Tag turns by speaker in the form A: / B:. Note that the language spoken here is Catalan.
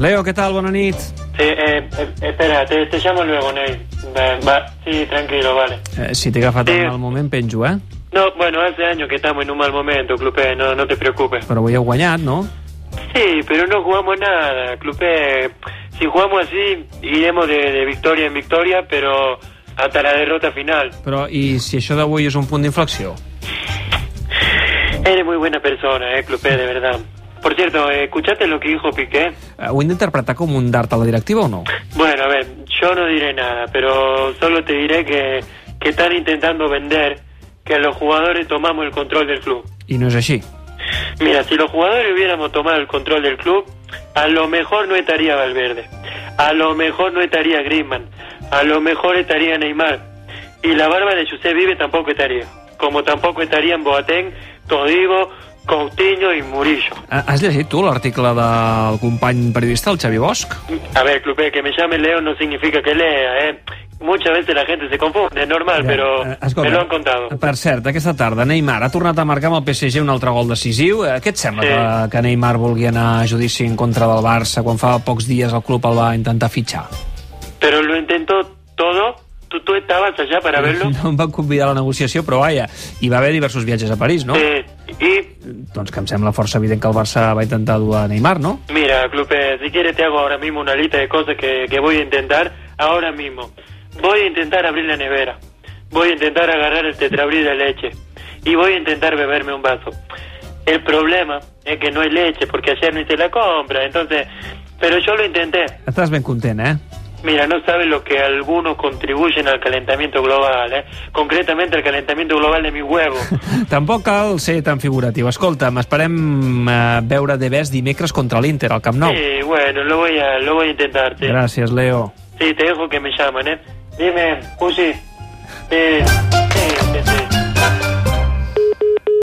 A: Leo, què tal? Bona nit.
B: Sí, eh, eh, espera, te, te llamo luego, Neil. Va, va, sí, tranquilo, vale.
A: Eh, si t'he agafat
B: Sí.
A: en mal moment, penjo, eh?
B: No, bueno, hace años que estamos en un mal momento, Clupé, no, no te preocupes.
A: Però avui heu guanyat, no?
B: Sí, pero no jugamos nada, Clupé. Si jugamos así, iremos de, de victoria en victoria, pero hasta la derrota final.
A: Però i si això d'avui és un punt d'inflexió? eh,
B: Eres muy buena persona, eh, Clupé, de verdad. Por cierto, eh, ¿escuchaste lo que dijo Piqué?
A: Eh, ho hem d'interpretar com un dart a la directiva o no?
B: Bueno, a ver, yo no diré nada, pero solo te diré que, que están intentando vender que los jugadores tomamos el control del club.
A: I no és així. Eh,
B: Mira, si los jugadores hubiéramos tomado el control del club, a lo mejor no estaría Valverde, a lo mejor no estaría Griezmann, a lo mejor estaría Neymar, y la barba de José Vive tampoco estaría, como tampoco estarían Boateng, Todibo, Coutinho y Murillo.
A: Eh, Has llegit tu l'article del company periodista, el Xavi Bosch?
B: A ver, Clupe, que me llame Leo no significa que lea, ¿eh? Muchas veces la gente se confunde, es normal, pero
A: Eh, escolta,
B: me lo han contado.
A: Per cert, aquesta tarda Neymar ha tornat a marcar amb el PSG un altre gol decisiu. Eh, Què et sembla
B: Sí.
A: que, que Neymar vulgui anar a judici en contra del Barça quan fa pocs dies el club el va intentar fitxar?
B: Pero lo intentó todo. ¿Tú, tú estabas allá para verlo?
A: No em van convidar a la negociació, pero vaja, hi va haver diversos viatges a París, no?
B: Eh, y
A: Doncs que em sembla força evident que el Barça va intentar dur a Neymar, no?
B: Mira, Clupe, si quieres te hago ahora mismo una lista de cosas que, que voy a intentar ahora mismo. Voy a intentar abrir la nevera. Voy a intentar agarrar el tetrabrí de leche. Y voy a intentar beberme un vaso. El problema es que no hay leche porque ayer no hice la compra. Entonces, pero yo lo intenté.
A: Estàs ben content, eh?
B: Mira, no sabes lo que algunos contribuyen al calentamiento global, ¿eh? Concretamente al calentamiento global de mi huevo.
A: Tampoc cal ser tan figuratiu. Escolta'm, esperem eh, veure de Bes dimecres contra l'Inter al Camp Nou.
B: Sí, bueno, lo voy a, lo voy a intentar. sí.
A: Gràcies, Leo.
B: Sí, te dejo que me llaman, ¿eh? Dime, Pussy. Eh,